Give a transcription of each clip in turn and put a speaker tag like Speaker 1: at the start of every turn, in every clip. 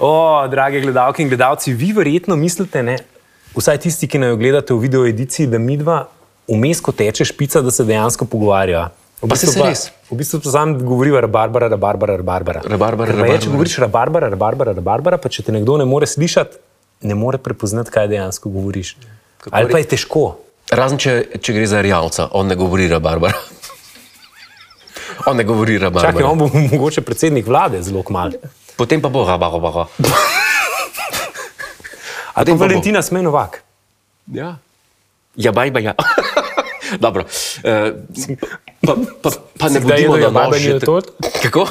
Speaker 1: O, drage gledalke in gledalci, vi verjetno mislite, ne, vsaj tisti, ki naj jo gledate v video ediciji, da mi dva vmes, ko teče špica, da se dejansko pogovarjava. V
Speaker 2: Pa saj se res.
Speaker 1: v bistvu pa sam govoriva rabarbara, rabarbara, rabarbara.
Speaker 2: Rabarbara,
Speaker 1: Ker pa je, Če
Speaker 2: rabarbara.
Speaker 1: govoriš rabarbara, rabarbara, rabarbara, pa če te nekdo ne more slišati, ne more prepoznati, kaj dejansko govoriš. Kako Ali pa je težko.
Speaker 2: Razen če, če gre za Rjavca, on ne govori rabarbara. on ne govori
Speaker 1: Čakaj,
Speaker 2: rabarbara.
Speaker 1: on bo mogoče predsednik vlade zelo kmalo.
Speaker 2: Potem pa bo rabarbara.
Speaker 1: Ali pa
Speaker 2: Potem pa bo.
Speaker 1: Valentina Smenovak.
Speaker 2: Ja. Ja, baj, baj, ja. Dobro. Eh, pa, pa, pa ne
Speaker 1: Si kdaj
Speaker 2: bodimo
Speaker 1: jedel
Speaker 2: na
Speaker 1: jabajbanino
Speaker 2: nož. že tako-
Speaker 1: tort?
Speaker 2: Kako?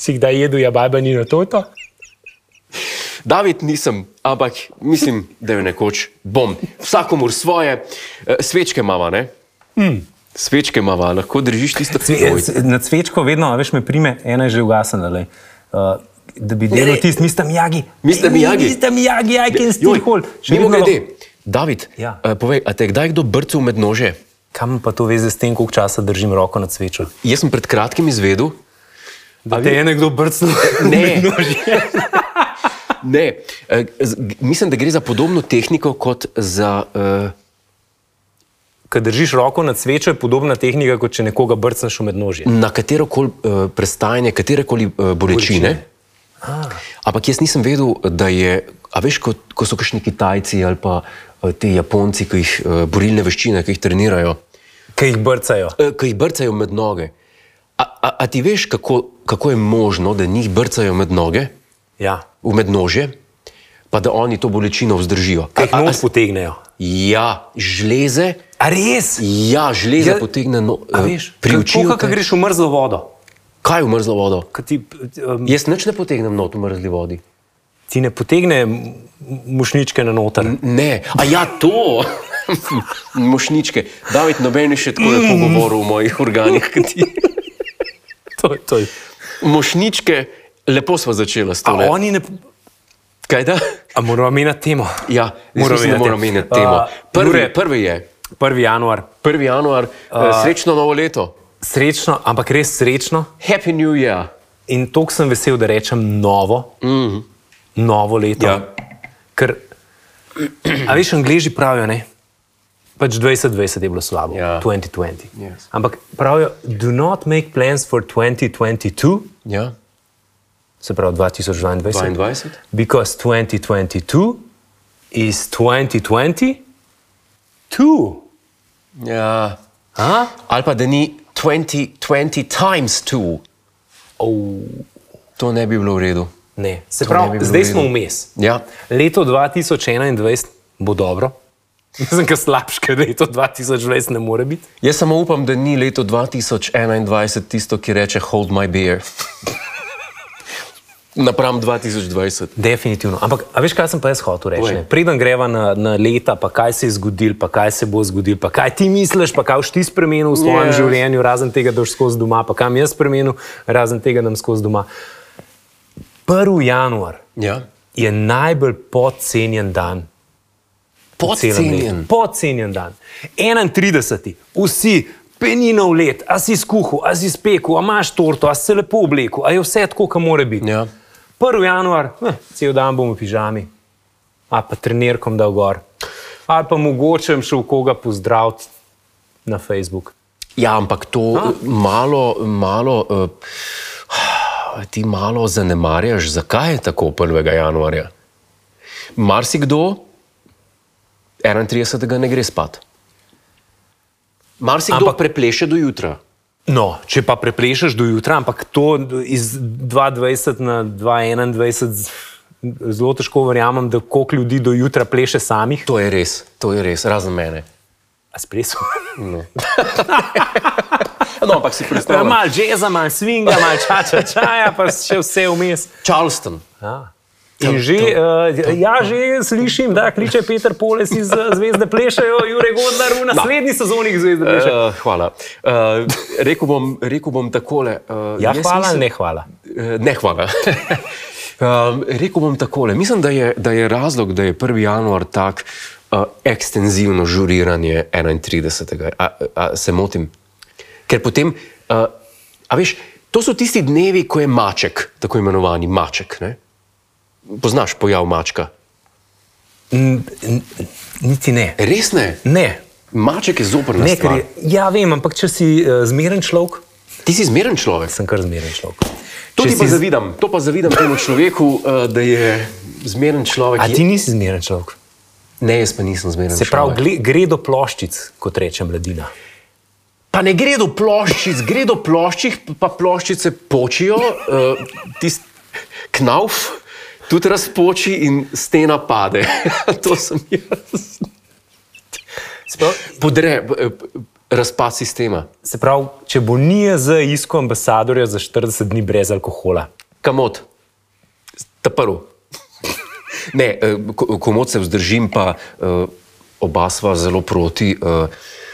Speaker 1: Si kdaj jedel jabajbanino toto?
Speaker 2: David nisem, ampak mislim, da jo nekoč bom. Vsakomur svoje. Eh, Svečke imamo, ne? Mm.
Speaker 1: Hmm.
Speaker 2: Svečke imamo, lahko držiš tisto, kar
Speaker 1: Cve, na cvečko vedno, a veš, me prime, ena je že ugasnila. lej. Uh, da bi delal
Speaker 2: ne.
Speaker 1: tisti, mislim, jagi.
Speaker 2: Mr. Miyagi.
Speaker 1: Mislim, jagi, I can still hold. Še
Speaker 2: Mimo
Speaker 1: vedno lahko-
Speaker 2: grede, David,
Speaker 1: Ja.
Speaker 2: ja. povej, a te je kdaj kdo brcal med nože?
Speaker 1: Kam pa to veze s tem, koliko časa držim roko na cvečo?
Speaker 2: Jaz sem pred kratkim izvedel,
Speaker 1: Da te je nekdo brcnil.
Speaker 2: Ne. ne. eh, z- g- Mislim, da gre za podobno tehniko kot za. Uh,
Speaker 1: Ko držiš roko na cvečo, je podobna tehnika, kot če nekoga brcneš v mednožje.
Speaker 2: na katero koli uh, prestajanje, katere koli uh, bolečine. Ampak jaz nisem vedel, da je, a veš, ko, ko so kakšni Kitajci ali pa eh, ti Japonci, ki jih uh, borilne veščine, ki jih trenirajo,
Speaker 1: Kaj jih brcajo.
Speaker 2: uh, ki jih brcajo med noge. A, a, a ti veš, kako, kako je možno, da njih brcajo med noge,
Speaker 1: Ja.
Speaker 2: v mednožje, pa da oni to bolečino vzdržijo?
Speaker 1: Kaj jih
Speaker 2: A- a-
Speaker 1: noč potegnejo.
Speaker 2: Ja, žleze.
Speaker 1: A res?
Speaker 2: Ja, žleze
Speaker 1: Ja,
Speaker 2: ja, potegne no,
Speaker 1: A
Speaker 2: eh,
Speaker 1: veš,
Speaker 2: pri očih.
Speaker 1: Kako, ko greš v mrzlo vodo?
Speaker 2: Kaj je umrzlo vodo?
Speaker 1: Ko Ti, um,
Speaker 2: Jaz neč ne potegnem not v mrzli vodi.
Speaker 1: ti ne potegne m- mušničke na noter.
Speaker 2: Ne, a ja, to. Mošničke, David, noben je še tako lepo govoril o mojih organih. kot ti.
Speaker 1: To, to je.
Speaker 2: Mošničke, lepo smo začeli s
Speaker 1: A
Speaker 2: to.
Speaker 1: oni ne,
Speaker 2: Kaj da?
Speaker 1: A moramo menjati temo.
Speaker 2: Ja,
Speaker 1: Moramo
Speaker 2: moram ne
Speaker 1: menjati.
Speaker 2: moram menjati temo.
Speaker 1: A, Jure.
Speaker 2: Prvi, prvi je,
Speaker 1: 1. januar,
Speaker 2: 1. januar, uh, srečno novo leto.
Speaker 1: srečno, ampak res srečno.
Speaker 2: Happy New Year.
Speaker 1: In tako sem vesel, da rečem novo, mm -hmm. novo leto.
Speaker 2: Mhm. Ja.
Speaker 1: Ker, a veš, angliži pravijo, ne? Pač 2020 je bilo slabo,
Speaker 2: Ja.
Speaker 1: 2020.
Speaker 2: Yes.
Speaker 1: Ampak pravijo, do not make plans for 2022,
Speaker 2: Ja,
Speaker 1: se pravi 2022,
Speaker 2: 22.
Speaker 1: because 2022 is 2020. Two.
Speaker 2: Ja.
Speaker 1: A?
Speaker 2: Ali pa da ni 20, 20 times 2.
Speaker 1: Oh.
Speaker 2: To ne bi bilo v redu.
Speaker 1: Ne. Se
Speaker 2: To ne
Speaker 1: pravi,
Speaker 2: bi bilo
Speaker 1: zdaj
Speaker 2: v redu.
Speaker 1: smo vmes.
Speaker 2: Ja.
Speaker 1: Leto 2021 bo dobro. Mislim, da slabš, ker leto 2020 ne more biti.
Speaker 2: Jaz samo upam, da ni leto 2021 tisto, ki reče hold my beer. Napram 2020.
Speaker 1: Definitivno. Ampak, a veš, kaj sem pa jaz hotel reči?
Speaker 2: Povej.
Speaker 1: ne? Preden greva na, na leta, pa kaj se je zgodil, pa kaj se bo zgodil, pa kaj ti misliš, pa kaj boš ti spremenil v svojem
Speaker 2: Yes.
Speaker 1: yes. življenju, razen tega, da boš skozi doma, pa kam jaz spremenil, razen tega, da sem skozi doma. 1. januar
Speaker 2: Ja.
Speaker 1: je najbolj podcenjen dan
Speaker 2: Podcenjen.
Speaker 1: Podcenjen dan. 31. Vsi. Peninov let, a si skuhal, a si spekel, a imaš torto, a si se lepo oblekel, a je vse tako, kot mora biti.
Speaker 2: Ja.
Speaker 1: 1. januar, eh, cel dan bom v pižami, a pa trenerkom dal gor. Ali pa mogoče bom šel koga pozdraviti na Facebook.
Speaker 2: ja, ampak to eh, malo, malo, uh, ti malo zanemarjaš, zakaj je tako 1. januarja. Marsikdo 31. ne gre spat. Marsikdo
Speaker 1: Ampak-
Speaker 2: ampak... prepleše do jutra.
Speaker 1: No, če pa preplešeš do jutra, ampak to iz 2020 na 2021 z- zelo težko verjamem, da koliko ljudi do jutra pleše samih.
Speaker 2: To je res, to je res, razen mene.
Speaker 1: A spresom.
Speaker 2: No, ampak si
Speaker 1: Ja,
Speaker 2: predstavljaj.
Speaker 1: mal jazza, mal swinga, mal čača čaja, ja, pa še vse vmes.
Speaker 2: Charleston.
Speaker 1: Ja. In že, uh, ja, že slišim, da kliče Peter Poles iz eh, Zvezde Plešajo, Jure Godnar v naslednji sezoni Zvezde Plešajo.
Speaker 2: Uh, hvala. Uh, rekel, bom, rekel bom takole. Uh,
Speaker 1: Ja, hvala, ne hvala.
Speaker 2: Uh, ne, hvala. Eh, Um, rekel bom takole. Mislim, da je, da je razlog, da je 1. januar tak uh, ekstenzivno žuriranje 31. A, a, se motim. Ker potem, uh, a veš, to so tisti dnevi, ko je maček, tako imenovani maček. Ne? Poznaš pojav mačka?
Speaker 1: N- n- Niti ne.
Speaker 2: Res ne.
Speaker 1: Ne,
Speaker 2: Maček je zoprn.
Speaker 1: ne ker je, ja, vem, ampak če si uh, zmeren človek,
Speaker 2: Ti si zmeren človek.
Speaker 1: sem kar zmeren človek.
Speaker 2: To
Speaker 1: Če
Speaker 2: ti pa
Speaker 1: si z-
Speaker 2: zavidam, to pa zavidam temu človeku, uh, da je zmeren človek.
Speaker 1: A ti nisi zmeren človek.
Speaker 2: Ne, jaz pa nisem zmeren.
Speaker 1: Se pravi,
Speaker 2: človek.
Speaker 1: gle, gre do ploščic, kot reče mladina.
Speaker 2: pa ne gre do ploščic, gre do ploščic, pa ploščice počijo, uh, tisti knauf tudi razpoči in stena pade. to sem jaz.
Speaker 1: Sprav,
Speaker 2: Podre, eh, razpad sistema.
Speaker 1: se pravi, če bo nije za isko ambasadorja za 40 dni brez alkohola.
Speaker 2: Kamot, ta prvi. Ne, eh, ko- komot se vzdržim, pa eh, oba sva zelo proti eh,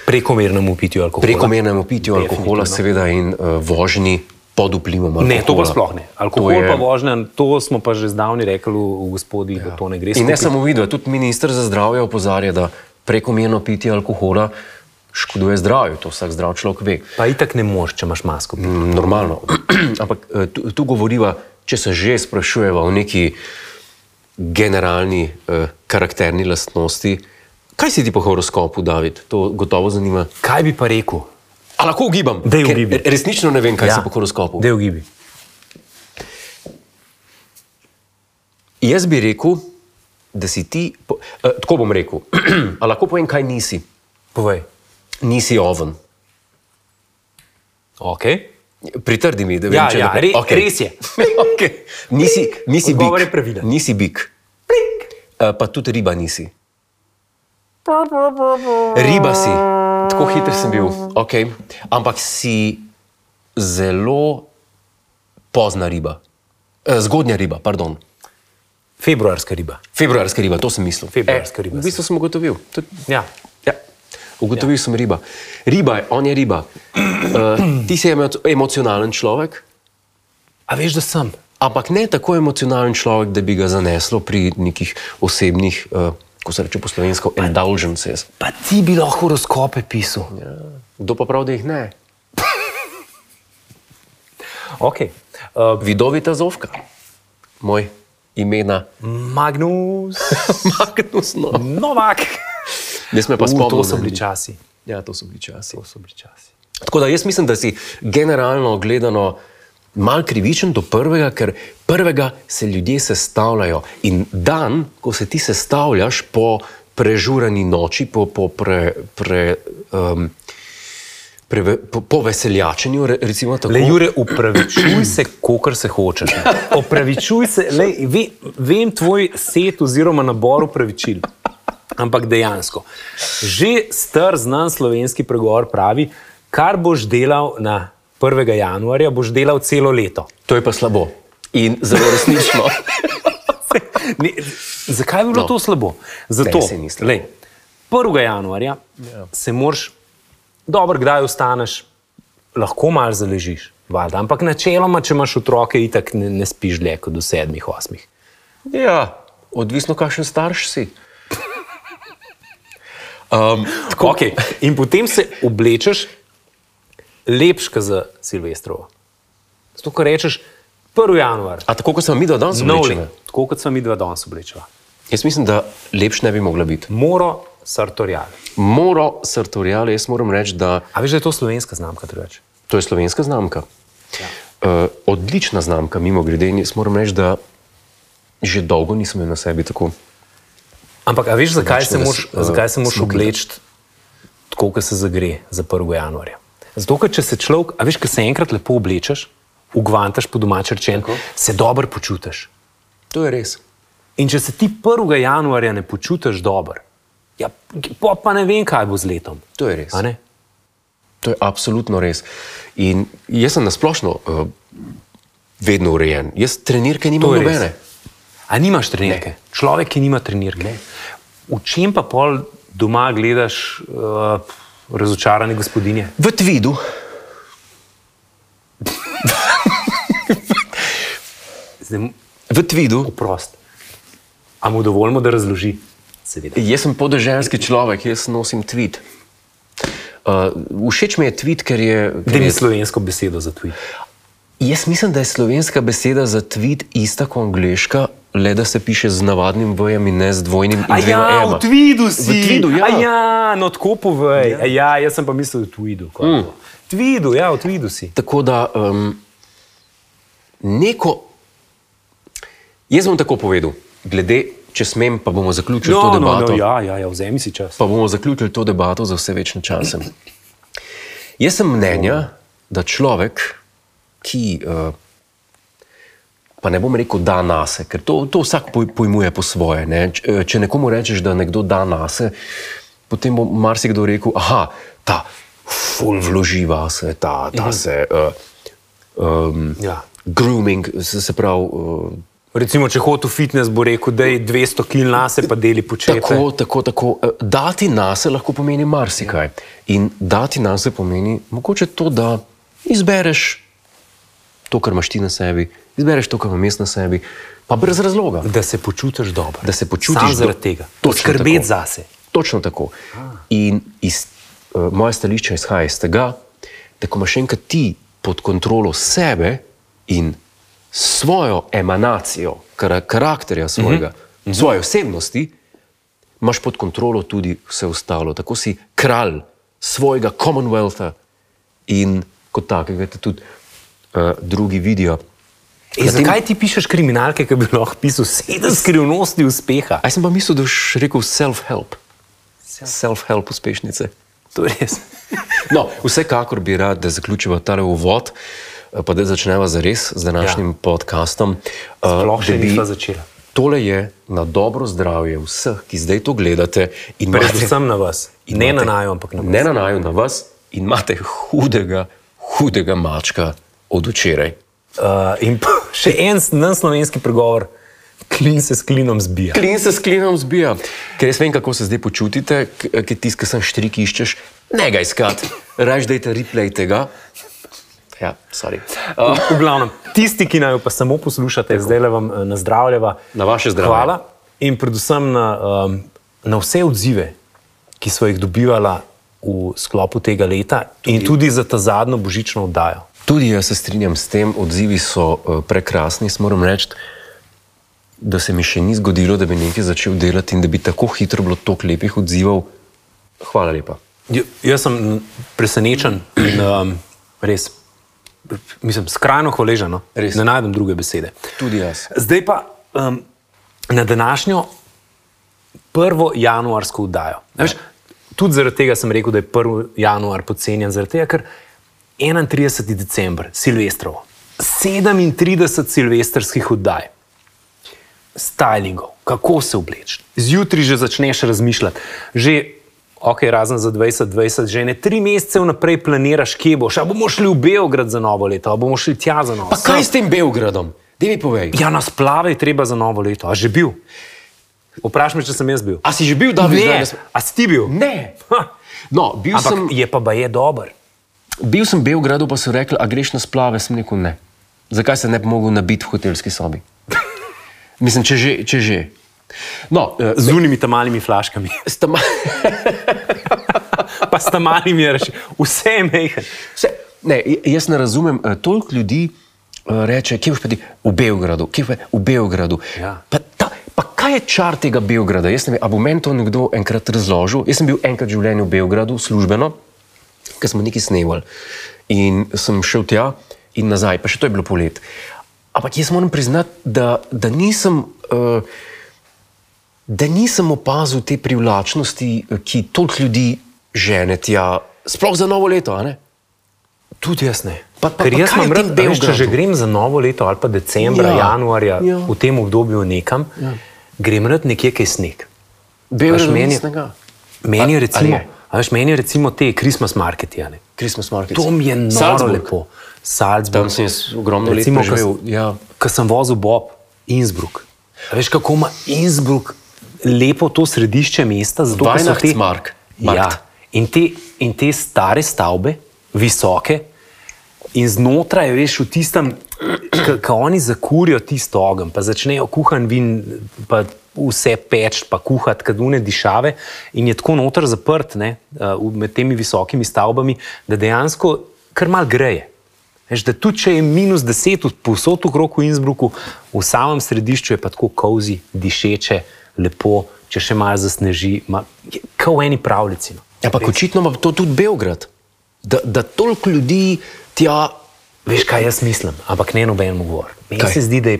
Speaker 1: Prekomernemu pitju alkohola.
Speaker 2: prekomernemu pitju alkohola, seveda, in eh, vožnji pod vplivom alkohola.
Speaker 1: Ne, to pa sploh ne. Alkohol
Speaker 2: To je-
Speaker 1: je... pa vožnja, to smo pa že zdavni rekli v v gospodi, ja. da to ne gre.
Speaker 2: In ne
Speaker 1: skupaj.
Speaker 2: samo vidno, tudi ministr za zdravje opozarja, da prekomerno pitje alkohola škoduje zdravju, to vsak zdrav človek ve.
Speaker 1: Pa itak ne moreš, če imaš masko.
Speaker 2: Mm, Normalno. Ampak eh, tu, tu govoriva, če se že sprašujeva o neki generalni, eh, karakterni lastnosti. Kaj si ti po horoskopu, David? To gotovo zanima.
Speaker 1: Kaj bi pa rekel?
Speaker 2: A lahko ugibam?
Speaker 1: Daj
Speaker 2: Ker
Speaker 1: ugibi.
Speaker 2: Resnično ne vem, kaj ja. si po horoskopu.
Speaker 1: Del gibi.
Speaker 2: Jaz bi rekel, da si ti. Po, eh, tako bom rekel. A lahko povem, kaj nisi?
Speaker 1: Povej.
Speaker 2: Nisi oven.
Speaker 1: Okay.
Speaker 2: Pritrdi mi, da vem,
Speaker 1: Ja,
Speaker 2: če
Speaker 1: ja,
Speaker 2: ne-
Speaker 1: re,
Speaker 2: Okej.
Speaker 1: okay. res je.
Speaker 2: okay. Nisi, nisi
Speaker 1: Odgovor
Speaker 2: bik.
Speaker 1: je pravilen.
Speaker 2: Nisi bik. Eh, Pa tudi riba nisi. Riba si, tako hiter sem bil. Okay. Ampak si zelo pozna riba. Eh, Zgodnja riba, pardon.
Speaker 1: Februarska riba.
Speaker 2: Februarska riba, to sem mislil. Eh,
Speaker 1: Februarska riba
Speaker 2: V bistvu sem ugotovil. To,
Speaker 1: Ja.
Speaker 2: ja. Ugotovil ja. sem riba. Riba je, on je riba. Uh, ti si emo emocionalen človek.
Speaker 1: A veš, da sem.
Speaker 2: Ampak ne tako emocionalen človek, da bi ga zaneslo pri nekih osebnih, uh, ko se reče po slovensko, indulgences.
Speaker 1: Pa ti bi lahko horoskope pisal. Ja.
Speaker 2: Kdo pa pravi, da jih ne?
Speaker 1: Okay. Uh,
Speaker 2: Vidovita zovka, Eh, moj imena
Speaker 1: Magnus,
Speaker 2: Magnus. No.
Speaker 1: Novak.
Speaker 2: Jaz me pa
Speaker 1: U,
Speaker 2: spomnim.
Speaker 1: to so bili časi.
Speaker 2: Ja, to so bili časi.
Speaker 1: To so bili časi.
Speaker 2: Tako da jaz mislim, da si generalno gledano mal krivičen do prvega, ker prvega se ljudje sestavljajo. In dan, ko se ti sestavljaš po prežurani noči, po, po, pre, pre, um, preve, po, po veseljačenju, re- recimo tako.
Speaker 1: Le, Jure, upravičuj se, kolikor se hočeš. Opravičuj se, lej, ve, vem tvoj set oziroma nabor upravičil. Ampak dejansko, že star znan slovenski pregovor pravi, kar boš delal na 1. januarja, boš delal celo leto.
Speaker 2: To je pa slabo. In zelo resnično.
Speaker 1: Ne, zakaj bi bilo
Speaker 2: No.
Speaker 1: no. to slabo? Zato,
Speaker 2: Ne, saj ni slabo.
Speaker 1: lej, 1. januarja ja. se moraš, dobro, kdaj ostaneš, lahko malo zaležiš. Valjda. Ampak načeloma, če imaš otroke, itak ne, ne spiš dlje kot do sedmih, osmih.
Speaker 2: ja, odvisno, kakšen starš si. Um,
Speaker 1: Tako. Okay. In potem se oblečeš lepška za Silvestrovo. Zato, ko rečeš 1. januar,
Speaker 2: a tako kot sem mi do danes
Speaker 1: nov
Speaker 2: oblečena?
Speaker 1: let, tako kot smo mi dva danes oblečena.
Speaker 2: Jaz mislim, da lepš ne bi mogla biti.
Speaker 1: Moro, sartorial.
Speaker 2: Moro sartoriale, jaz moram reči, da
Speaker 1: A veš, da je to slovenska znamka drugače?
Speaker 2: to je slovenska znamka. Ja. Uh, odlična znamka, mimo grede, in jaz moram reči, da že dolgo nisem imel na sebi tako.
Speaker 1: Ampak a veš, zakaj se
Speaker 2: Drugačnega
Speaker 1: moraš,
Speaker 2: s- eh,
Speaker 1: zakaj se moraš
Speaker 2: smukida.
Speaker 1: obleči tako, kot se zagre za 1. januarja? Zato, ker če se človek, a veš, ko se enkrat lepo oblečeš, ugvantaš po domačem rečen, se dobro počutiš.
Speaker 2: To je res.
Speaker 1: In če se ti 1. januarja ne počutiš dobro, ja, pa, pa ne vem, kaj bo z letom.
Speaker 2: To je res.
Speaker 1: A ne?
Speaker 2: To je absolutno res. In jaz sem nasplošno uh, vedno urejen. Jaz trenirke nimam
Speaker 1: To je res.
Speaker 2: nobene.
Speaker 1: A nimaš trenirke? Ne. Človek, ki nima trenirke. Ne. V čem pa pol doma gledaš uh, razočarane gospodinje?
Speaker 2: V Tvidu.
Speaker 1: Zdaj,
Speaker 2: V Tvidu.
Speaker 1: prost. A mu dovolimo, da razloži? seveda.
Speaker 2: Jaz sem podeželski človek, jaz nosim tweet. Uh, všeč mi je tweet, ker je.
Speaker 1: Da
Speaker 2: Ker
Speaker 1: ni
Speaker 2: je
Speaker 1: slovensko besedo za tweet.
Speaker 2: jaz mislim, da je slovenska beseda za tweet ista kot angliška, le da se piše z navadnim vojem in ne z dvojnim. in
Speaker 1: A
Speaker 2: dvema
Speaker 1: ja,
Speaker 2: ema.
Speaker 1: v Tvidu si.
Speaker 2: V tweetu, ja.
Speaker 1: A ja, no tako povej. Ja. ja, jaz sem pa mislil v Tvidu. Mm.
Speaker 2: Hmm.
Speaker 1: Tvidu, ja, v Tvidu si.
Speaker 2: Tako da um, neko. Jaz bom tako povedal, glede, če smem, pa bomo zaključili to
Speaker 1: No, no,
Speaker 2: debato.
Speaker 1: no, ja, ja, ja, vzemi si čas.
Speaker 2: Pa bomo zaključili to debato za vse večne čase. Jaz sem mnenja, da človek, ki, eh, pa ne bom rekel, da nase, ker to, to vsak poj- pojmuje po svoje. Ne? Č- eh, Če nekomu rečeš, da nekdo da nase, potem bo marsikdo rekel, aha, ta ful vloživa se, ta, ta se. Uh, um,
Speaker 1: Ja.
Speaker 2: Grooming, se, se pravi, eh,
Speaker 1: Recimo, če hočeš v fitness, bo rekel, da je 200 kg na se, pa deli početi.
Speaker 2: Tako, tako, tako. Eh, Dati nas lahko pomeni marsikaj. In dati nas pomeni mogoče to, da izbereš to, kar imaš ti na sebi, izbereš to, kar imaš na sebi, pa brez razloga.
Speaker 1: Da se počutiš dobro.
Speaker 2: Da se počutiš
Speaker 1: Sam
Speaker 2: do-
Speaker 1: zaradi tega.
Speaker 2: Točno
Speaker 1: Skrbeti
Speaker 2: tako.
Speaker 1: zase.
Speaker 2: Točno tako. In iz, uh, moje stališče izhaja iz tega, da ko imaš enkrat ti pod kontrolo sebe in svojo emanacijo, kar, karakterja svojega, mm -hmm. svoje osebnosti, imaš pod kontrolo tudi vse ostalo. Tako si kralj svojega Commonwealtha in kot takega te tudi uh, drugi vidijo.
Speaker 1: E, zakaj ti pišeš kriminalke, ki bi lahko pisal sedem skrivnosti uspeha?
Speaker 2: Aj sem pa mislil, da boš rekel self-help, self-help uspešnice.
Speaker 1: To je res.
Speaker 2: No, vsekakor bi rad, da zaključiva ta uvod, eh, pa da začneva za res z današnjim ja. podcastom. Eh,
Speaker 1: Sploh še
Speaker 2: da bi-
Speaker 1: nisva začela.
Speaker 2: Tole je na dobro zdravje vseh, ki zdaj to gledate. in imate-
Speaker 1: Predvsem na vas.
Speaker 2: in
Speaker 1: Ne
Speaker 2: imate-
Speaker 1: na naju, ampak na vas.
Speaker 2: Ne na naju, na vas in imate hudega, hudega mačka od včeraj.
Speaker 1: Uh, in pa še en nam slovenski pregovor, klin se s klinom zbija.
Speaker 2: Klin se s klinom zbija. Ker jaz vem, kako se zdaj počutite, k- eh, ki tiska sem štrik iščeš, ne ga iskati, raž dajte replay tega. Ja, sorry.
Speaker 1: Uh, v glavnem, tisti, ki naj jo pa samo poslušate, zdaj le vam eh, nazdravljava.
Speaker 2: Na vaše zdravje.
Speaker 1: Hvala in predvsem na, um, na vse odzive, ki so jih dobivala v sklopu tega leta tudi. in tudi za ta zadnjo božično oddajo.
Speaker 2: Tudi jaz se strinjam s tem, odzivi so eh, prekrasni. Jaz moram reči, da se mi še ni zgodilo, da bi nekaj začel delati in da bi tako hitro bilo toliko lepih odzivov. Hvala lepa.
Speaker 1: J- Jaz sem mm, presenečen in um, res, mislim, skrajno hvaležen. no.
Speaker 2: Res.
Speaker 1: Ne najdem druge besede.
Speaker 2: Tudi jaz.
Speaker 1: Zdaj pa um, na današnjo prvo januarsko oddajo. Ja. Veš, tudi zaradi tega sem rekel, da je 1. januar podcenjen, zaradi tega, ker 31. december, Silvestrovo, 37 silvestrskih oddaj, stylingov, kako se obleči. Zjutraj že začneš razmišljati, že ok, razen za 2020, že ne tri mesece vnaprej planiraš, kje boš. A bomo šli v Beograd za novo leto, a bomo šli tja za novo
Speaker 2: Pa kaj s tem Belgradom? Dej mi povej.
Speaker 1: Ja, na splave je treba za novo leto. A že bil? Vprašaj me, če sem jaz bil.
Speaker 2: A si že bil David? zdaj,
Speaker 1: ne,
Speaker 2: da smo-
Speaker 1: a si ti bil?
Speaker 2: ne.
Speaker 1: Ha.
Speaker 2: No, bil
Speaker 1: Ampak
Speaker 2: sem,
Speaker 1: je pa je dober.
Speaker 2: bil sem v Belgradu, pa so rekli, a greš na splave, sem rekel ne. Zakaj se ne bi mogel nabiti v hotelski sobi? Mislim, če že. Če že. No, eh,
Speaker 1: Z unimi tam malimi flaškami,
Speaker 2: s tam-
Speaker 1: pa s tam malimi
Speaker 2: ja,
Speaker 1: je rešil. Vse je mehen.
Speaker 2: Vse, ne, j- jaz ne razumem, eh, toliko ljudi eh, reče, kje boš pa ti v Beogradu, kje boš pa v Beogradu.
Speaker 1: Ja.
Speaker 2: Pa, ta, pa kaj je čar tega Beograda? Jaz ne vem, a bo meni to nekdo enkrat razložil. Jaz sem bil enkrat v življenju v Beogradu, službeno, ker smo nekaj snemali. In sem šel tja in nazaj, pa še to je bilo polet. Ampak jaz moram priznati, da, da nisem. Uh, da nisem opazil te privlačnosti, eh, ki toliko ljudi žene tja, sploh za novo leto. a Ne?
Speaker 1: Tudi jaz ne.
Speaker 2: Pa- pa-
Speaker 1: Ker
Speaker 2: pa
Speaker 1: jaz
Speaker 2: kaj
Speaker 1: imam
Speaker 2: je v
Speaker 1: rad,
Speaker 2: tem
Speaker 1: da veš, če že
Speaker 2: Beogradu?
Speaker 1: grem za novo leto ali pa decembra,
Speaker 2: Ja,
Speaker 1: ja, januarja,
Speaker 2: ja.
Speaker 1: ja. v tem obdobju nekam, ja. grem rad nekje, kjer je sneg.
Speaker 2: Beograd
Speaker 1: meni-
Speaker 2: snega.
Speaker 1: Meni je
Speaker 2: A- ali
Speaker 1: recimo,
Speaker 2: je?
Speaker 1: a veš, meni je recimo te Christmas marketi. a ne.
Speaker 2: Christmas market.
Speaker 1: To mi je noro
Speaker 2: Salzburg.
Speaker 1: lepo. Salzburg.
Speaker 2: Tam sem jaz ogromno let
Speaker 1: Recimo, ko
Speaker 2: preživel.
Speaker 1: sem-
Speaker 2: Ja.
Speaker 1: Ko sem vozil Bob, Innsbruck. A Veš, kako ima Innsbruck lepo to središče mesta, zato ker so te
Speaker 2: Weihnachtsmarkt.
Speaker 1: Ja, in, te, in te stare stavbe, visoke, in znotraj, veš, v tistem, ki oni zakurijo tisto ogenj, pa začnejo kuhan vin, pa vse peč, pa kuhati, kadune dišave in je tako noter zaprt ne, uh, med temi visokimi stavbami, da dejansko kar mal greje. Veš, da tudi če je minus 10 povsod okrog v Innsbrucku, v samem središču je pa tako kozi, dišeče, lepo, če še malo zasneži, ma, je kot v eni pravljici. No.
Speaker 2: Ja, Ampak očitno ima to tudi Beograd, da, da toliko ljudi tja.
Speaker 1: Veš, kaj jaz mislim, ampak ne noben govor. Meni
Speaker 2: Kaj?
Speaker 1: se zdi, da je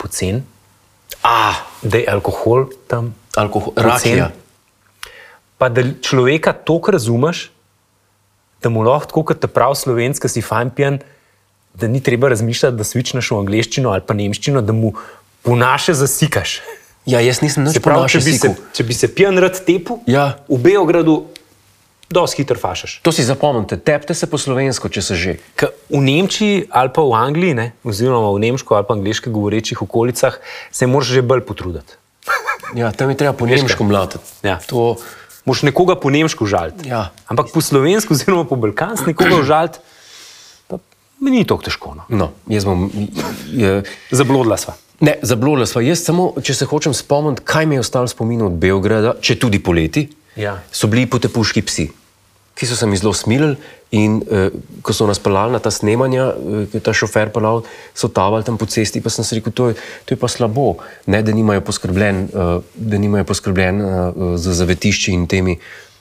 Speaker 1: pocen,
Speaker 2: A,
Speaker 1: da je alkohol tam,
Speaker 2: alkohol,
Speaker 1: pocen,
Speaker 2: rakija.
Speaker 1: pa da človeka toliko razumeš, da mu lahko, tako kot ta prav slovenski, si fajn pijan, da ni treba razmišljati, da svičneš v angleščino ali pa nemščino, da mu po naše zasikaš.
Speaker 2: Ja, jaz nisem nič
Speaker 1: Se pravi, če
Speaker 2: ponašal
Speaker 1: bi se,
Speaker 2: siku.
Speaker 1: če bi se pijan rad tepu,
Speaker 2: Ja.
Speaker 1: v Beogradu dosti hitro fašaš.
Speaker 2: To si zapomnite, tepte se po slovensko, če se že.
Speaker 1: K- V Nemčiji ali pa v Angliji, ne, oziroma v nemško ali pa angliško govorečih okolicah, se moraš že bolj potruditi.
Speaker 2: Ja, tam je treba po nemško mlatiti.
Speaker 1: Ja.
Speaker 2: To,
Speaker 1: Moš nekoga po nemško žaliti.
Speaker 2: Ja.
Speaker 1: Ampak po slovensko, oziroma po balkansko, nekoga žaliti, pa mi ni tako težko. No.
Speaker 2: no, jaz bom. Je,
Speaker 1: Zablodla sva.
Speaker 2: ne, zablodila sva. Jaz samo, če se hočem spomniti, kaj mi je ostalo spomin od Beograda, če tudi poleti,
Speaker 1: Ja.
Speaker 2: so bili potepuški psi, ki so se mi zelo smilili. In eh, ko so nas pelali na ta snemanja, eh, ko je ta šofer pelal, so tavali tam po cesti, pa sem si rekel, to je, to je pa slabo, ne, da nimajo poskrbljen, eh, da nimajo poskrbljen eh, za zavetišči in temi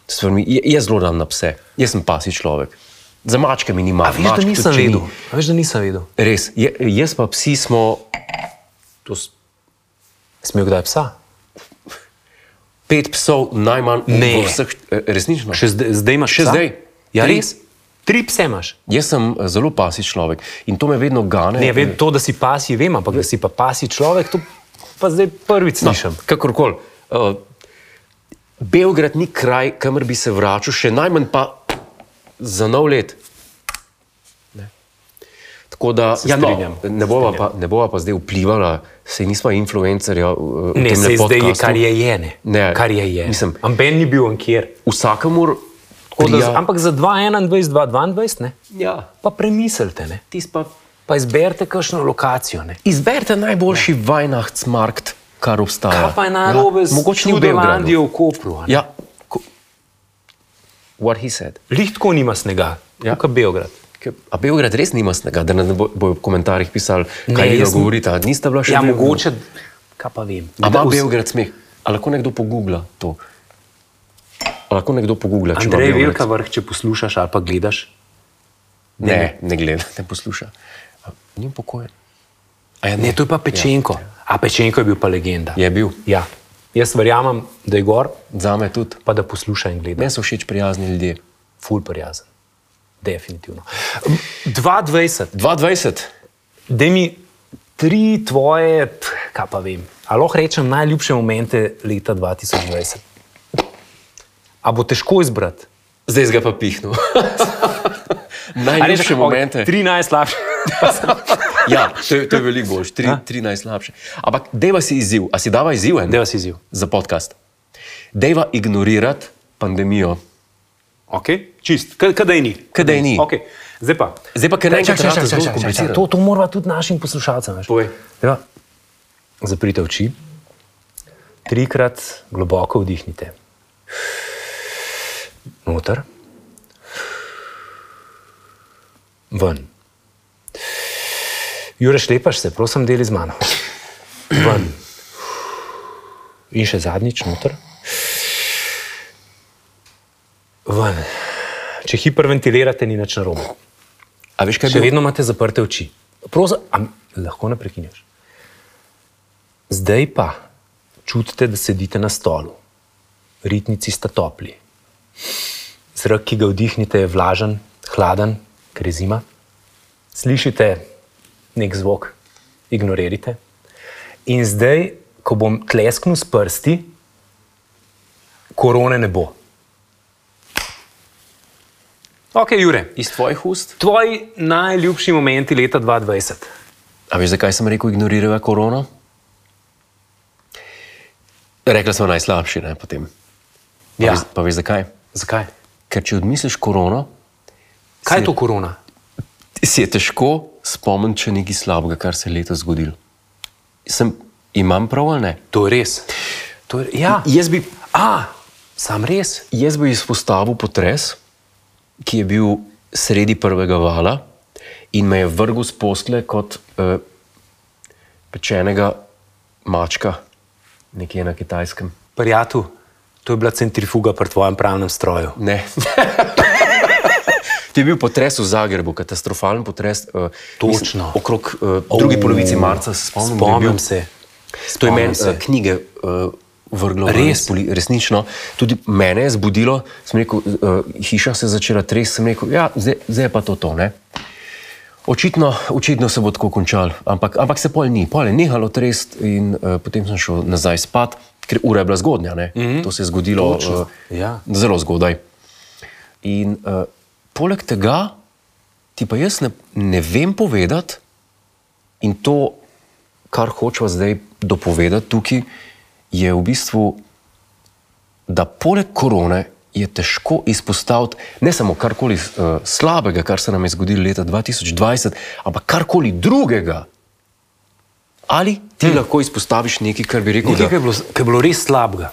Speaker 2: stvarmi. Je, jaz zelo dam na pse, jaz sem pasi človek. Za mačke mi ni
Speaker 1: A
Speaker 2: mar.
Speaker 1: veš, da
Speaker 2: mačk tudi,
Speaker 1: nisem
Speaker 2: če ni-
Speaker 1: vedel. A veš, da nisem vedel.
Speaker 2: Res, je, jaz pa psi smo. To s-
Speaker 1: Smel kdaj psa?
Speaker 2: pet psov najmanj
Speaker 1: Ne.
Speaker 2: v vseh, eh, resnično.
Speaker 1: Še zdaj, zdaj imaš
Speaker 2: Še
Speaker 1: psa?
Speaker 2: zdaj.
Speaker 1: Ja,
Speaker 2: Tri.
Speaker 1: res? Tri pse imaš.
Speaker 2: Jaz sem eh, zelo pasi človek in to me vedno gane.
Speaker 1: Ne, vem, to, da si pasi, vem, ampak da si pa pasi človek, to pa zdaj prvič
Speaker 2: No,
Speaker 1: slišim.
Speaker 2: Kakorkoli. Uh, Beograd ni kraj, kamor bi se vračal, še najmanj pa za nov let. Ne. Tako da
Speaker 1: Se
Speaker 2: ja, no,
Speaker 1: strinjam.
Speaker 2: ne, bova pa, ne bova pa zdaj vplivala, se nismo influencerja. eh, v
Speaker 1: Ne,
Speaker 2: temle
Speaker 1: se zdaj je,
Speaker 2: podcastu.
Speaker 1: kar je je. Ne,
Speaker 2: Ne,
Speaker 1: kar je je.
Speaker 2: mislim- Ja.
Speaker 1: Amben ni bil ankjer.
Speaker 2: Vsakomur.
Speaker 1: Tako da-
Speaker 2: trija-
Speaker 1: Ampak za 2021, 2022, ne?
Speaker 2: ja,
Speaker 1: pa premislite, ne?
Speaker 2: tisti pa
Speaker 1: pa izberite kakšno lokacijo. Ne?
Speaker 2: Izberite najboljši ja. Weihnachtsmarkt, kar obstaja.
Speaker 1: Kaj pa je narobe ja, z
Speaker 2: mogoče ni v Beogradu.
Speaker 1: Holandijo v Kopru? a ne?
Speaker 2: Ja. Ko- What he said.
Speaker 1: Lih tako nima snega, ja.
Speaker 2: Ja.
Speaker 1: kot Beograd.
Speaker 2: Ke- A Beograd res nima snega, da ne bo, bojo v komentarjih pisali,
Speaker 1: Ne,
Speaker 2: kaj vi
Speaker 1: jaz-
Speaker 2: govorite. a Niste bila še
Speaker 1: Ja,
Speaker 2: v Beogradu?
Speaker 1: mogoče, kaj pa vem.
Speaker 2: A ima
Speaker 1: Kdaj-
Speaker 2: Beograd smeh? A lahko nekdo pogubla to? A lahko nekdo pogubla, če ima
Speaker 1: Andrej
Speaker 2: Beograd
Speaker 1: Velika vrh, če poslušaš ali pa gledaš.
Speaker 2: Ne, ne, ne gleda, ne posluša. A Ni upokojen. A Ja,
Speaker 1: Ne, to je pa Pečenko. Ja. A Pečenko je bil pa legenda.
Speaker 2: Je bil.
Speaker 1: Ja. Jaz verjamem, da je gor,
Speaker 2: Zame tudi.
Speaker 1: pa da posluša in gleda.
Speaker 2: Meni so všeč prijazni ljudje.
Speaker 1: Ful prijazen. Definitivno. 220,
Speaker 2: 22.
Speaker 1: da mi tri tvoje, pf, kaj pa vem, ali lahko rečem najljubše momente leta 2020. A bo težko izbrati?
Speaker 2: Zdaj si ga pa pihnil. Najlepše
Speaker 1: ok,
Speaker 2: momente.
Speaker 1: Tri najslabše.
Speaker 2: Ja, to je, to je veliko boljše, tri, tri najslabše. Ampak deva si izziv, a si dava izziv en
Speaker 1: Deva si izziv.
Speaker 2: za podcast. Deva ignorirati pandemijo.
Speaker 1: Okay. Čist, K- kadej ni.
Speaker 2: Kadej ni.
Speaker 1: Okay. Zdaj pa.
Speaker 2: Zdaj pa, ker
Speaker 1: Čakaj,
Speaker 2: naenkrat
Speaker 1: čakaj,
Speaker 2: rata
Speaker 1: čakaj,
Speaker 2: zelo
Speaker 1: čakaj, čakaj, čakaj. To,
Speaker 2: komplicirana.
Speaker 1: to mora tudi našim poslušalcem. veš.
Speaker 2: Povej.
Speaker 1: Zdaj pa, Zaprite oči, trikrat globoko vdihnite. Noter, ven. Jureš, lepaš se, prosim, deli z mano. Ven. In še zadnjič noter. Ven. Če hiperventilirate, ni nič narobe.
Speaker 2: A veš, kaj
Speaker 1: Še
Speaker 2: je bilo?
Speaker 1: vedno imate zaprte oči. Proza, a, lahko ne prekinješ. Zdaj pa čutite, da sedite na stolu, ritnici sta topli. Zrak, ki ga vdihnete, je vlažen, hladen, ker je zima. Slišite nek zvok, ignorirate. In zdaj, ko bom tlesknil s prsti, korone ne bo. Ok, Jure,
Speaker 2: Iz tvojih ust?
Speaker 1: Tvoji najljubši momenti leta 2020.
Speaker 2: A veš, zakaj sem rekel ignorirala korona? Rekla sem najslabši, ne potem. Pa,
Speaker 1: Ja.
Speaker 2: veš, pa veš zakaj?
Speaker 1: Zakaj?
Speaker 2: Ker če odmisliš korono,
Speaker 1: Kaj je to korona?
Speaker 2: si je težko spomniti še nekaj slabega, kar se je letos zgodilo. Sem, imam prav ali ne?
Speaker 1: To je res. To je, ja.
Speaker 2: Jaz bi,
Speaker 1: A, sam res.
Speaker 2: jaz bi izpostavil potres, ki je bil sredi prvega vala in me je vrgel z posle kot eh, pečenega mačka, nekje na kitajskem.
Speaker 1: Prijatelj, to je bila centrifuga pri tvojem pravnem stroju.
Speaker 2: Ne. Ti je bil potres v Zagrebu, katastrofalen potres. eh,
Speaker 1: Točno.
Speaker 2: okrog uh, druge
Speaker 1: O,
Speaker 2: polovice marca se spomnim. da je bil-
Speaker 1: Spomnim se.
Speaker 2: To je
Speaker 1: Spomnim
Speaker 2: meni
Speaker 1: se.
Speaker 2: eh, knjige uh, vrglo ven,
Speaker 1: Res?
Speaker 2: poli- resnično. Tudi mene je zbudilo, sem rekel, uh, hiša se je začela tresti, sem rekel, ja, zdaj, zdaj je pa to to. Ne? Očitno, očitno se bo tako končal, ampak, ampak se pol ni, pol je nehalo trest in uh, potem sem šel nazaj spat, ker ura je bila zgodnja. Mm -hmm. To se je zgodilo
Speaker 1: Mhm. Točno,
Speaker 2: eh,
Speaker 1: ja.
Speaker 2: zelo zgodaj. In uh, poleg tega ti pa jaz ne, ne vem povedati, In to, kar hočemo zdaj dopovedati tukaj, je v bistvu, da poleg korone je težko izpostaviti ne samo karkoli uh, slabega, kar se nam je zgodilo leta 2020, ampak karkoli drugega. Ali ti hmm. lahko izpostaviš nekaj, kar bi rekel,
Speaker 1: Hm. Nekaj, kar
Speaker 2: da,
Speaker 1: je bilo, kar je bilo res slabega.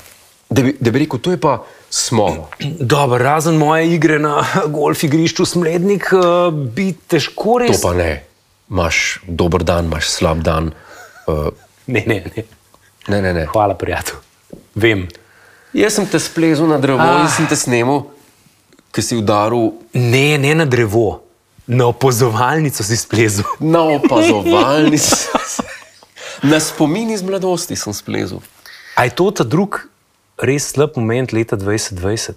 Speaker 2: da, bi, da bi rekel, to je pa smolo.
Speaker 1: Dobro, razen moje igre na golf igrišču Smlednik, eh, bi težko
Speaker 2: To
Speaker 1: res.
Speaker 2: pa ne. Imaš dober dan, imaš slab dan. Uh,
Speaker 1: Ne, ne, ne.
Speaker 2: ne, ne, ne.
Speaker 1: Hvala, prijatelj. Vem.
Speaker 2: Jaz sem te splezel na drevo
Speaker 1: Ah.
Speaker 2: ah. in sem te snemal, ki si udaril
Speaker 1: Ne, ne na drevo, na opazovalnico si splezel.
Speaker 2: na opazovalni. s- na spomin iz mladosti sem splezel.
Speaker 1: A je to ta drug res slab moment leta 2020,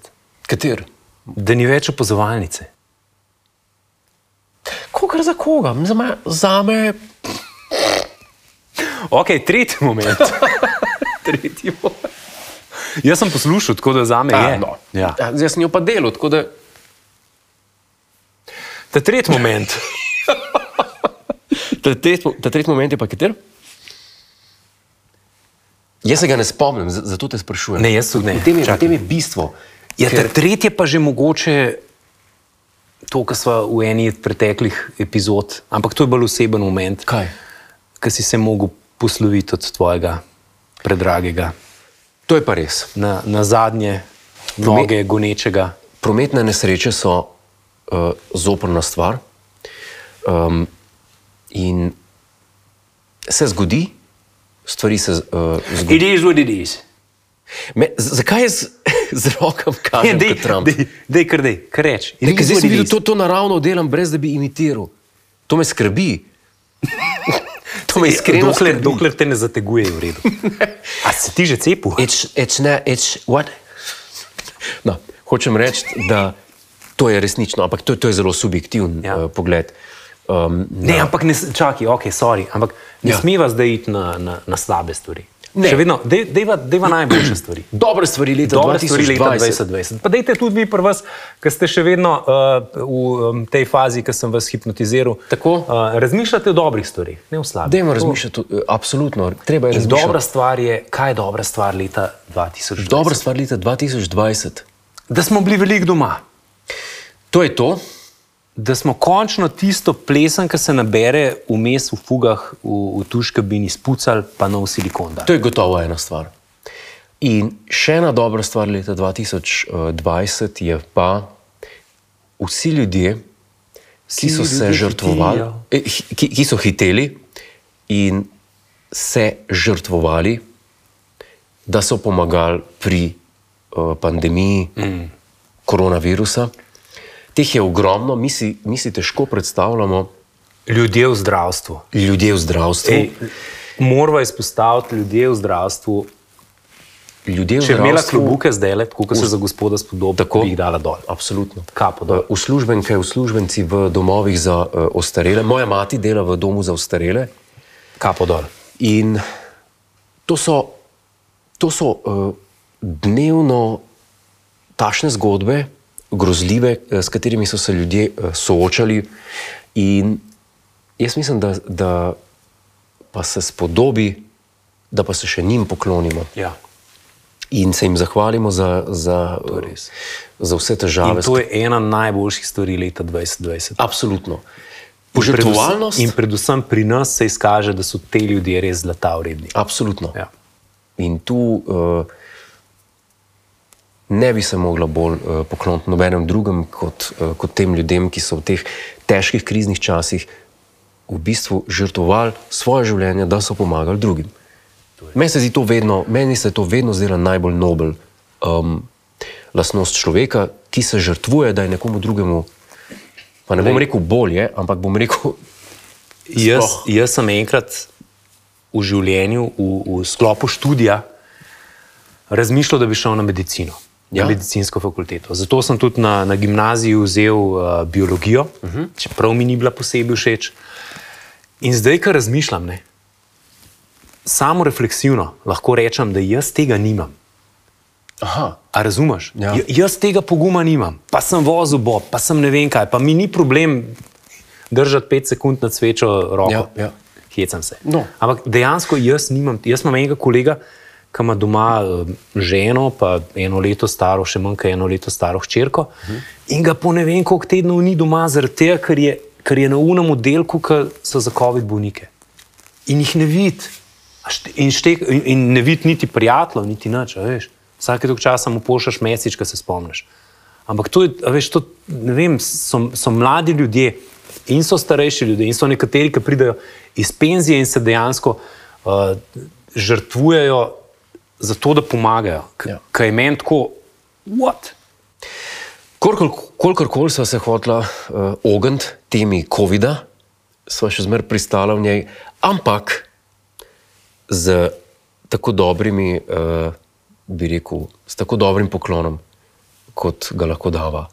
Speaker 2: Kater?
Speaker 1: da ni več opazovalnice?
Speaker 2: Kogar za koga? Za me, za me
Speaker 1: Ok, tretji moment.
Speaker 2: tretji bo.
Speaker 1: Jaz sem poslušal, tako da za me
Speaker 2: Ja,
Speaker 1: je.
Speaker 2: no.
Speaker 1: Ja.
Speaker 2: ja. Jaz sem jo pa delal, tako da
Speaker 1: Ta tretji moment.
Speaker 2: Ta tret- ta tretji moment je pa kater? Jaz se ga ne spomnim, z- zato te sprašujem.
Speaker 1: Ne, jaz tudi ne.
Speaker 2: V tem je, v
Speaker 1: Čakaj.
Speaker 2: tem je bistvo.
Speaker 1: Ja, ta
Speaker 2: Ker-
Speaker 1: tretji je pa že mogoče to, kar smo v eni od preteklih epizod, ampak to je bolj oseben moment,
Speaker 2: Kaj?
Speaker 1: ki si se mogel posloviti od tvojega predragega,
Speaker 2: To je pa res.
Speaker 1: na, na zadnje noge gonečega.
Speaker 2: Prometne nesreče so uh, zoprna stvar. Um, in se zgodi, stvari se uh, zgodijo.
Speaker 1: It is what it is.
Speaker 2: Me, z- zakaj jaz z rokom kažem?
Speaker 1: Dej,
Speaker 2: kot Trump?
Speaker 1: dej, dej, kar dej, kar reč.
Speaker 2: Ne, ker zdaj sem videl,
Speaker 1: to.
Speaker 2: to, to naravno delam, brez da bi imitiral. To me skrbi. to me iskreno
Speaker 1: Dokler,
Speaker 2: skrbi.
Speaker 1: dokler te ne zateguje, je v redu. A si ti že cepil?
Speaker 2: It's, it's ne, it's what? No, hočem reči, da to je resnično, ampak to, to je zelo subjektiven
Speaker 1: Ja.
Speaker 2: ja. uh, pogled. Um,
Speaker 1: Ne, ampak ne, s- čakaj, ok, sorry, ampak ne ja.
Speaker 2: Ja.
Speaker 1: smeva zdaj iti na, na, na slabe stvari. Ne.
Speaker 2: Ne.
Speaker 1: Še vedno, dej- dejva, dejva najboljše stvari.
Speaker 2: Dobre stvari leta
Speaker 1: Dobre stvari leta
Speaker 2: 2020.
Speaker 1: 2020. Pa dejte tudi vi pri vas, ki ste še vedno uh, v um, tej fazi, ki sem vas hipnotiziral.
Speaker 2: Tako.
Speaker 1: Uh, razmišljate o dobrih stvareh, ne o slabih.
Speaker 2: Dajmo
Speaker 1: To-
Speaker 2: razmišljati, eh, absolutno. Treba je
Speaker 1: In
Speaker 2: razmišljati.
Speaker 1: dobra stvar je, kaj je dobra stvar leta 2020?
Speaker 2: dobra stvar leta 2020.
Speaker 1: Da smo bili veliko doma,
Speaker 2: To je to.
Speaker 1: da smo končno tisto plesen, ki se nabere vmes v fugah, v, v tuški bini spucali, pa nov silikon. dali.
Speaker 2: To je gotovo ena stvar. In še ena dobra stvar leta 2020 je pa, vsi ljudje, ki so
Speaker 1: Vsi
Speaker 2: se
Speaker 1: ljudje
Speaker 2: žrtvovali,
Speaker 1: hitijo.
Speaker 2: eh, hi- ki, ki so hiteli in se žrtvovali, da so pomagali pri uh, pandemiji mm. koronavirusa. Teh je ogromno, mi si, mi si težko predstavljamo
Speaker 1: Ljudje v zdravstvu.
Speaker 2: ljudje v zdravstvu.
Speaker 1: Ej, Moramo izpostaviti ljudi v zdravstvu.
Speaker 2: ljudje v
Speaker 1: Če je imela
Speaker 2: zdravstvu-
Speaker 1: klobuke zdaj, le, tako kot se za gospoda spodobi, tako
Speaker 2: Tako.
Speaker 1: bi jih dala dol.
Speaker 2: Absolutno.
Speaker 1: Kapo dol.
Speaker 2: Eh, Uslužbenke, uslužbenci v domovih za eh, ostarele. Moja mati dela v domu za ostarele
Speaker 1: Kapo dol.
Speaker 2: in to so, to so eh, dnevno tašne zgodbe, grozljive, eh, s katerimi so se ljudje eh, soočali. In jaz mislim, da, da pa se spodobi, da pa se še njim poklonimo
Speaker 1: Ja.
Speaker 2: in se jim zahvalimo za, za, eh, za vse
Speaker 1: In
Speaker 2: težave,
Speaker 1: to je ena najboljših stvari leta 2020.
Speaker 2: Absolutno.
Speaker 1: In
Speaker 2: Požrtvovalnost.
Speaker 1: predvsem, in predvsem pri nas se izkaže, da so te ljudje res zlata vredni.
Speaker 2: Absolutno.
Speaker 1: Ja.
Speaker 2: In tu uh, ne bi se mogla bolj uh, pokloniti nobenem drugem kot, uh, kot tem ljudem, ki so v teh težkih kriznih časih v bistvu žrtvovali svoje življenje, da so pomagali drugim. Meni se, zdi to vedno, meni se je to vedno zdela najbolj nobel um, lastnost človeka, ki se žrtvuje, da je nekomu drugemu. Pa ne bom rekel bolje, ampak bom rekel,
Speaker 1: Jaz, jaz sem enkrat v življenju, v, v sklopu študija, razmišljal, da bi šel na medicino, ja.
Speaker 2: Ja.
Speaker 1: na medicinsko fakulteto. Zato sem tudi na, na gimnaziji vzel uh, biologijo, uh -huh. čeprav mi ni bila posebej všeč. In zdaj, ko razmišljam, ne, samo refleksivno lahko rečem, da jaz tega nimam.
Speaker 2: aha,
Speaker 1: A razumeš?
Speaker 2: Ja.
Speaker 1: J- Jaz tega poguma nimam, pa sem vozil bob, pa sem ne vem kaj, pa mi ni problem držati pet sekund na svečo roko.
Speaker 2: Ja, ja.
Speaker 1: Hecam se.
Speaker 2: No.
Speaker 1: Ampak dejansko jaz nimam, jaz imam enega kolega, ki ima doma eh, ženo, pa eno leto staro, še manj kot eno leto staro hčerko, mhm. in ga po ne vem koliko tednov ni doma, zaradi tega, ker je, ker je na unem oddelku, ki so za COVID bolnike in jih ne vidi. A šte- In, štek, in, in ne vidi niti prijateljev, niti nič. a veš. Vsake dolg časa mu pošlješ mesič, ki se spomniš. Ampak to je, a veš, to, ne vem, so, so mladi ljudje in so starejši ljudje, in so nekateri, ki pridejo iz penzije in se dejansko uh, žrtvujejo za to, da pomagajo. K-
Speaker 2: Ja.
Speaker 1: Kaj ja. je meni tako, what?
Speaker 2: Kolikor koli sva se hotla uh, ogniti temi COVID-a, sva še zmeraj pristala v njej, ampak z tako dobrimi, uh, bi rekel, s tako dobrim poklonom, kot ga lahko dava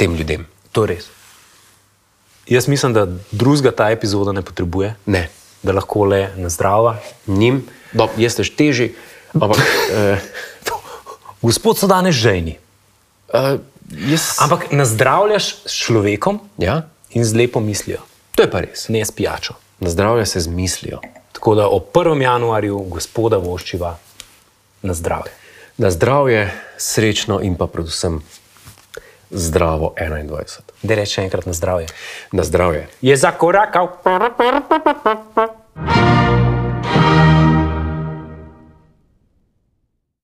Speaker 2: tem ljudem.
Speaker 1: To je res. Jaz mislim, da drugega ta epizoda ne potrebuje,
Speaker 2: Ne,
Speaker 1: da lahko le nazdrava.
Speaker 2: njim, dob, jaz tež teži, ampak uh,
Speaker 1: Gospod so danes žejni.
Speaker 2: uh, jaz.
Speaker 1: Ampak nazdravljaš s človekom
Speaker 2: ja,
Speaker 1: in z lepo mislijo,
Speaker 2: to je pa res.
Speaker 1: ne s pijačo.
Speaker 2: Nazdravlja se z mislijo.
Speaker 1: Tako da ob 1. januarju gospoda voščiva na zdravje.
Speaker 2: Na zdravje, srečno in pa predvsem zdravo 21.
Speaker 1: Da reče enkrat na zdravje.
Speaker 2: Na zdravje.
Speaker 1: Je zakorakal.